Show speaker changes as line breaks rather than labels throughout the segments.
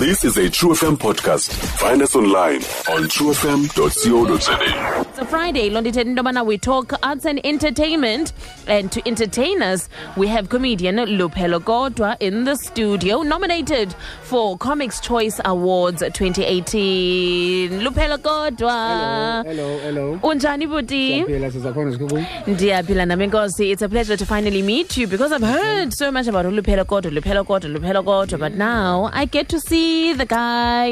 This is a True FM podcast. Find us online on truefm.co.za.
It's a Friday. Londi Tendobana, we talk arts and entertainment. And to entertain us, we have comedian Lupelo Godwa in the studio, nominated for Comics Choice Awards 2018. Lupelo Godwa.
Hello, hello.
Unjani Buti?
Siyaphila sizakhona sikhulu.
Ndiyaphila nami nkosi. It's a pleasure to finally meet you because I've heard so much about Lupelo Godwa, Lupelo Godwa, Lupelo Godwa, but now I get to see the guy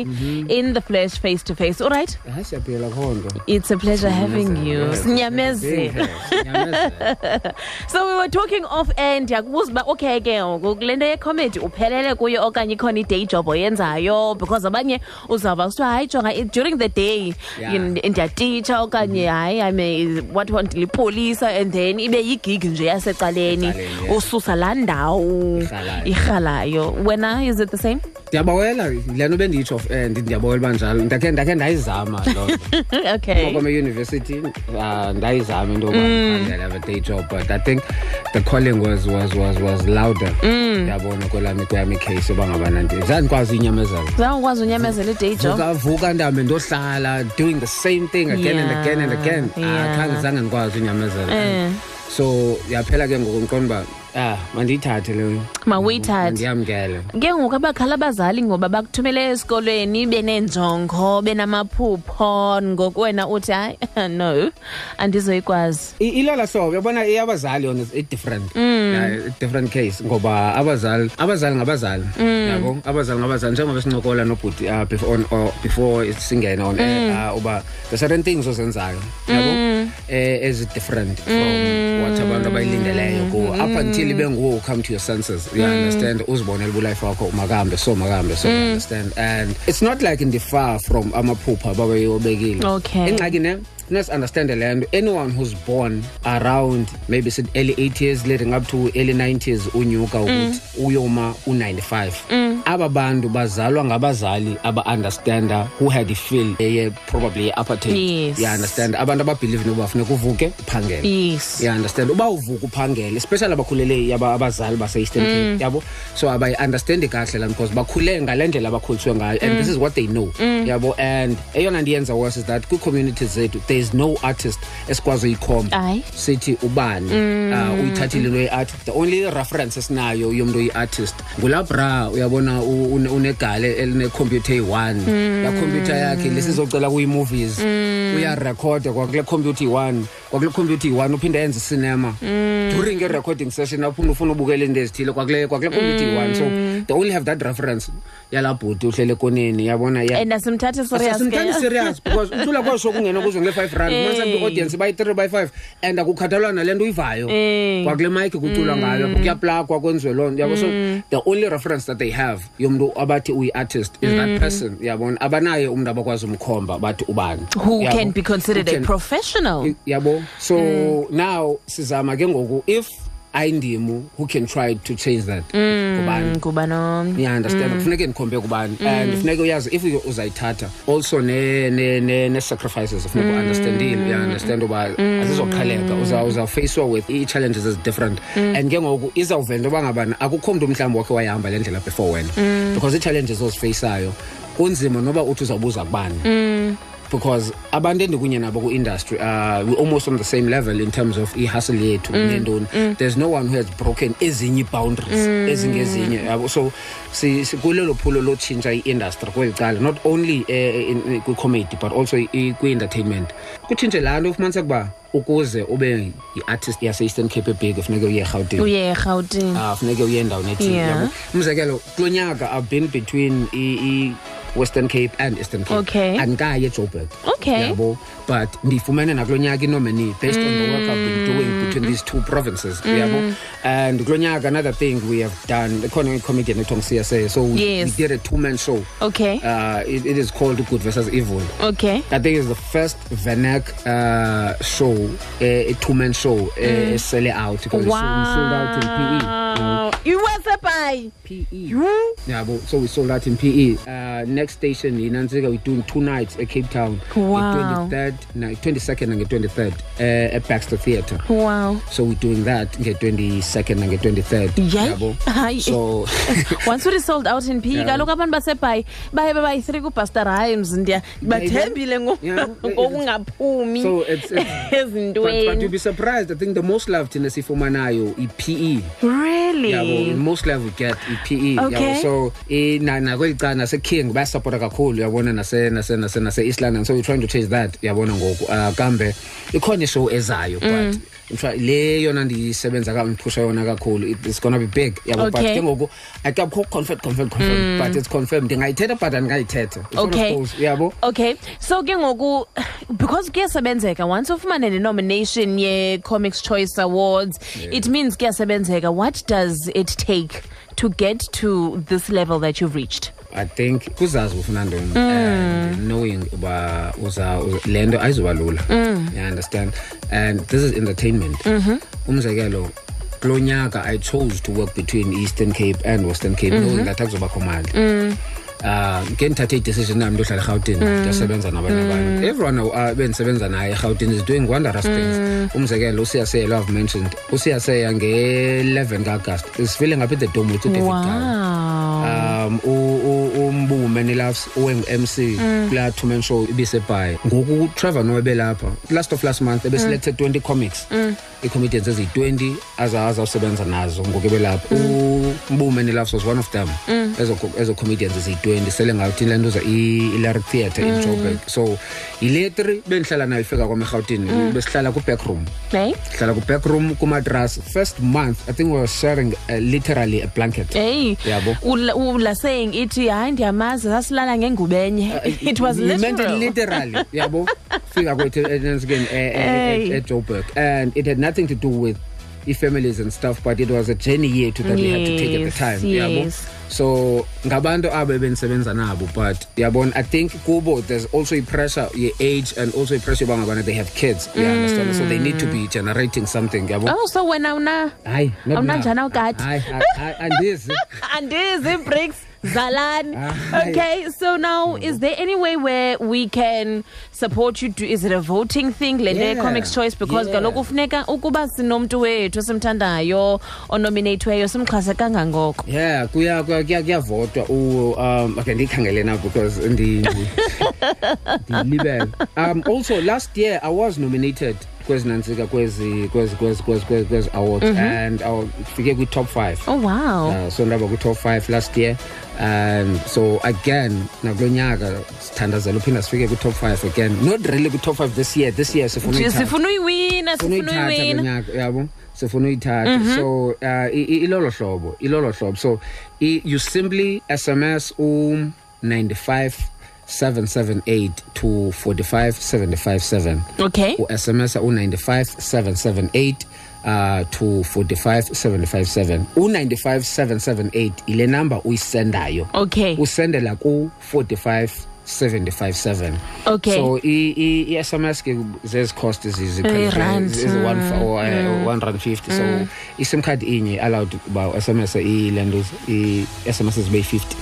in the flesh face to face. All right?
Hayi siyaphila khonto.
It's a pleasure having you.
Being
Sinyameze.
here, sinyameza.
So we were talking off and ndiyakubuza uba okay ke ngoku kule nto yecomedy uphelele kuyo okanye ikhona i-day job oyenzayo because abanye uzawuba kuthiwa hayi jonga i- during the day
Yeah. Mm-hmm.
you know, ndiyatitsha okanye hayi I'm a- what what ndilipolisa and then ibe yigigi nje yasecaleni
Ecaleni, yeah.
ususa laa ndawo
Irhalayo.
irhalayo wena is it the same
Ndiyabawela le nto benditsho eh ndithi ndiyabawela banjalo. Ndakhe ndakhe ndayizama lo.
okay
Ngoba university uh, ndayizama into yoba I'll have a day job but I think the calling was was was was louder. Ndiyabona kwelami kwami case yoba ngabana nje. Zandikwazi inyamezela.
zawukwazi unyamezela i-day job
vuka ndihambe ndohlala doing the same thing again and
Yeah,
again and again
yeah.
Ah, khange zange ndikwazi unyamezela
Eh.
so yaphela ke ngoku ndiqonda uba ah mandiyithathe leyo
mawuyithathe
ndiyamkele
ke ngoku abakhala abazali ngoba bakuthumele esikolweni beneenjongo benamaphupho ngoku wena uthi hayi no andizoyikwazi
I- ilala hlobo yabona iyabazali yona is- i-different Yeah, i-different case ngoba abazali abazali ngabazali yabo abazali ngabazali njengoba sincokola nobhuti ah, before on- or before singene on air, ah, uba the certain things ozenzayo yabo eh, ezi-different from what abantu abayilindeleyo kuwo up until ibe nguwo u-come to your senses you understand uzibonele ubulife wakho makahambe so makahambe so you understand and it's not like ndifar from amaphupha babeyobekile
Okay.
ingxaki ne let's understand the land anyone who's born around maybe said early 80s leading up to early 90s unyuka ukuthi
Mm.
uyoma u95 aba bantu bazalwa ngabazali aba-understanda who had ifeel eye probably apartheid
Yes.
you understand abantu ababhelieve noba funeka uvuke uphangele
yes
you understand uba uvuka uphangele especially abakhulele yaba- abazali base-eastern cape yabo so abayi-understandi kahle lan because bakhule ngale ndlela abakhuliswe ngayo and this is what they know yabo and eyona nto yenza worse is that kwii-community zethu there is no artist esikwazi uyikhomba
hayi
sithi ubani uh, uyithathile into ye-art the only reference esinayo yomntu oyi-artist ngulabra uyabona u- une- unegale elinekhompyutha eyi-one laa khompyutha yakhe lesizocela kuyi-movies uyarekhoda kwakule khompyutha iyi-one kwakule khompyutha iyi-one uphinde enze icinema during i-recording session aphinde ufuna ubukela into ezithile kwakule kwakule khompyutha iyi-one so they only have that reference yalaa bhuti uhlele koneni yabona ya-
and asimthathi serious
asimtani
ke
serious because uthula kwasho kungena kuzo nge-five rand ufumanisa
Eh.
kwi-audience bayi-three bayi-five and akukhathalwa nale nto uyivayo
Eh.
kwakule mike kuculwa ngayo kuyaplagwa kwenziwe loo nto yabo so
Mm.
the only reference that they have yomntu abathi uyi-artist is
Mm.
that person yabona abanaye umntu abakwazi umkhomba bathi ubani
who
Yabo.
can be considered
Who
a Mm.
can-
professional
yabo so now sizama ke ngoku if ayindimu who can try to change that
Mm.
kubani
kuba nomnye
yeah understand kufuneka ndikhombe kubani and kufuneka uyazi if uyo- uzayithatha also ne- ne- ne- ne-sacrifices funeka uunderstandile uyaunderstand uba azizoqheleka uza- uzawufeyiswa with ii-challenges ezi-different and ke ngoku izawuvela into yoba ngabana akukho mntu mhlawumbi wakhe wayihamba le ndlela before wena because ii-challenges ozifeyisayo kunzima noba uthi uzawubuza kubani because abantu endikunye nabo kwi-industry uh, we almost on the same level in terms of i-hustle yethu nentoni there's no one who has broken ezinye ii-boundaries ezingezinye yabo so si- si- kulelo phulo lotshintsha i-industry kweli cala not only eh, in- in- kwi-comedy but also i- kwi-entertainment kutshintshe laa nto ufumaniseka uba ukuze ube yi-artist yase-eastern cape ebhig funeke uye erhawutini
uye erhawutini
Ah, funeke uye endaweni ethile
Yeah.
yabo. umzekelo kulo nyaka i've been between i- i-western cape and eastern cape
Okay.
andikayi ejoburg
Okay.
yabo but ndiyifumene nakulo nyaka inomini based on the work i've
Mm.
been doing between these two provinces yabo and kulo nyaka another thing we have done ikhona icomedian ekuthiwa ngucsa so we,
Yes.
we did a two-man show
okay
uh, it, it is called good versus evil
okay
I think it's the first Venac uh, show, eh, a two man show, uh, sell it out because it sold- sold out in PE.
Mm. Wow.
iwhatsapp hayi
E.
PE.
you
Yabo, so we sold out in PE. Uh, next station in Anzega, we're doing two nights at Cape Town.
Wow.
The 23rd, no, 22nd and the 23rd uh, at Baxter Theatre.
wow
So we're doing that the 22nd and the 23rd.
Yay.
Yabo.
Hayi.
So
once uri sold out in p
Yeah.
kaloku abantu basebhayi baye babayi-three kupastor rhymes ndiya bathembile ngo-
Yeah.
ngokungaphumi
So it's- it's- but, but you'll
ezintweni
be surprised. I think the most love in the Sifomanayo is E. PE. Yeah, well,
really
most love we get E i-PE. yabo.
Okay.
So eh, na- nakweli na naseKing bayasupporta kakhulu yabona nase nase nase nase East London. So we're trying to change that yabona ngoku. Uh, kambe ikhona ishow ezayo
Mm.
but in fact, le yona ndisebenza ka ndiphusha yona kakhulu. It- It's going to be big yabo but
Okay. Mm.
ke ngoku akukho confirmed confirmed confirmed but it's confirmed. Ndingayithetha but andingayithetha. It's one of
okay
those, Yabo.
okay so ke ngoku because kuyasebenzeka once ufumane ne-nomination ye-comics choice awards it means kuyasebenzeka what does it take to get to this level that you've reached
I think kuzazi ufuna ntoni and knowing uba uza uza- le nto ayizuba lula you understand and this is entertainment umzekelo kulo nyaka i chose to work between eastern cape and western cape knowing that akuzobakho mali um ke ndithathe idecision nam ndohlala erhawutini ndiyasebenza nabanye abantu everyone uh, bendisebenza naye erhawutini is doing wondrous things umzekelo usiyaseya lo i've mentioned usiyaseya nge-11 kaagasti is feeling up at the dome with udavid Gawu
wow
um u- u- umbume nelafs u-M- uwengu-mc kulaa two man show ibisebhayi ngoku utrevor noe belapha last of last month ebeselected 20 comics ii-comedians eziyi-20 aza- azawusebenza nazo ngoku ebelapha umbume nelafs was one of them ezo ezo comedians eziyi-20 sele ngawuthini le nto za ilaric theatre in joburg so yile three bendihlala nayo ifika kwam erhawutini besihlala kwi-backroom
okay
sihlala kwi-backroom kumatras first month i think we were sharing uh, literally a blanket
Hey,
Yabo.
ula- ula saying ithi hayi ndiyamazi sasilala ngengubenye it was
You meant it
literal
literally yabo fika kwethu eh, again
Hey.
at joburg eh, and it had nothing to do with i-families and stuff but it was a journey yethu that we had to take at the
Yes,
time yabo
yes.
so ngabantu abo ebendisebenza nabo but yabona i think kubo there's also i-pressure ye-age and also i-pressure yoba ngabana they have kids you understand so they need to be generating something yabo
Mm. oh so wena una
hayi not now.
Awunanjani awukade?
Hayi, hayi, hayi, andizi
andizi bricks zalani
Hayi.
okay so now is there any way where we can support you do, is it a voting thing le nto
Yeah.
comics choice because
Yeah.
kaloku funeka ukuba sinomntu wethu simthandayo onominathiweyo simxhase kangangoko
yeah kuya kuya- kuya kuyavotwa u um okay ndiyikhangele na because ndi ndi- ndiyilibele um also last year i was nominated kwezi nantsika kwezi kwezi kwezi kwezi kwezi kwezi awards and I fike kwi-top five
oh wow
Uh, so ndaba kwi-top five last year um so again nakulo nyaka sithandazela uphinda sifike kwi-top five again not really kwi-top five this year this year sifuna
Nje
uyithatha
sifuna uyiwina
sifuna
sifuna
uyithatha
uyiwina
konyaka yabo sifuna uyithatha so uh, i- i- ilolo hlobo ilolo hlobo so i- you simply sms um 95 778 to 45 757
okay
u-sms u-95 778 uh, to 45 757 u-95 778 ile namba uyisendayo
okay
usendela ku-45 757
Okay.
so i- i- i-sms ke zezi-cost
Irandi,
zizi-one rand fifty so isim card inye allowed uba u-sms ile nto i-sms zibe yi-fifty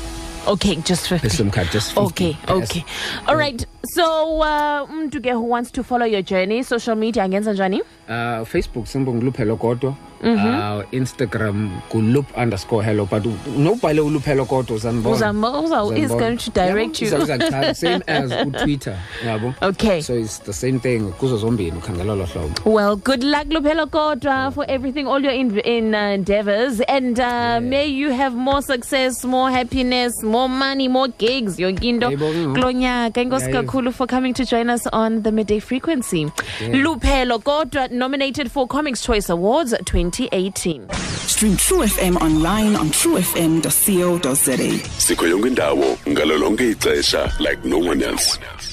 okay just for
isim card just 50.
okay
Yes.
okay all right so uh mntu ke who wants to follow your journey social media angenza njani
Uh, facebook simple nguluphelo kodwa
Mhm.
uh, instagram gulup underscore hello but nobhale uluphelo kodwa
Uzambo- uza- is going to direct you.
you same as utwitter yabo
Okay.
so it's the same thing kuzo zombini ukhangela lo hlobo
Well, good luck, Lupelo Kodwa, for everything, all your in, in uh, endeavors, and uh, may you have more success, more happiness, more money, more gigs. Yongindo
Yebo, mm.
Glonya, Kengos
Yeah, yeah.
Kakulu for coming to join us on the midday frequency. Lupelo Kodwa, nominated for Comics Choice Awards 2018.
Stream True FM online on truefm.co.za.
sikho yonke indawo ngalo lonke ixesha like no one else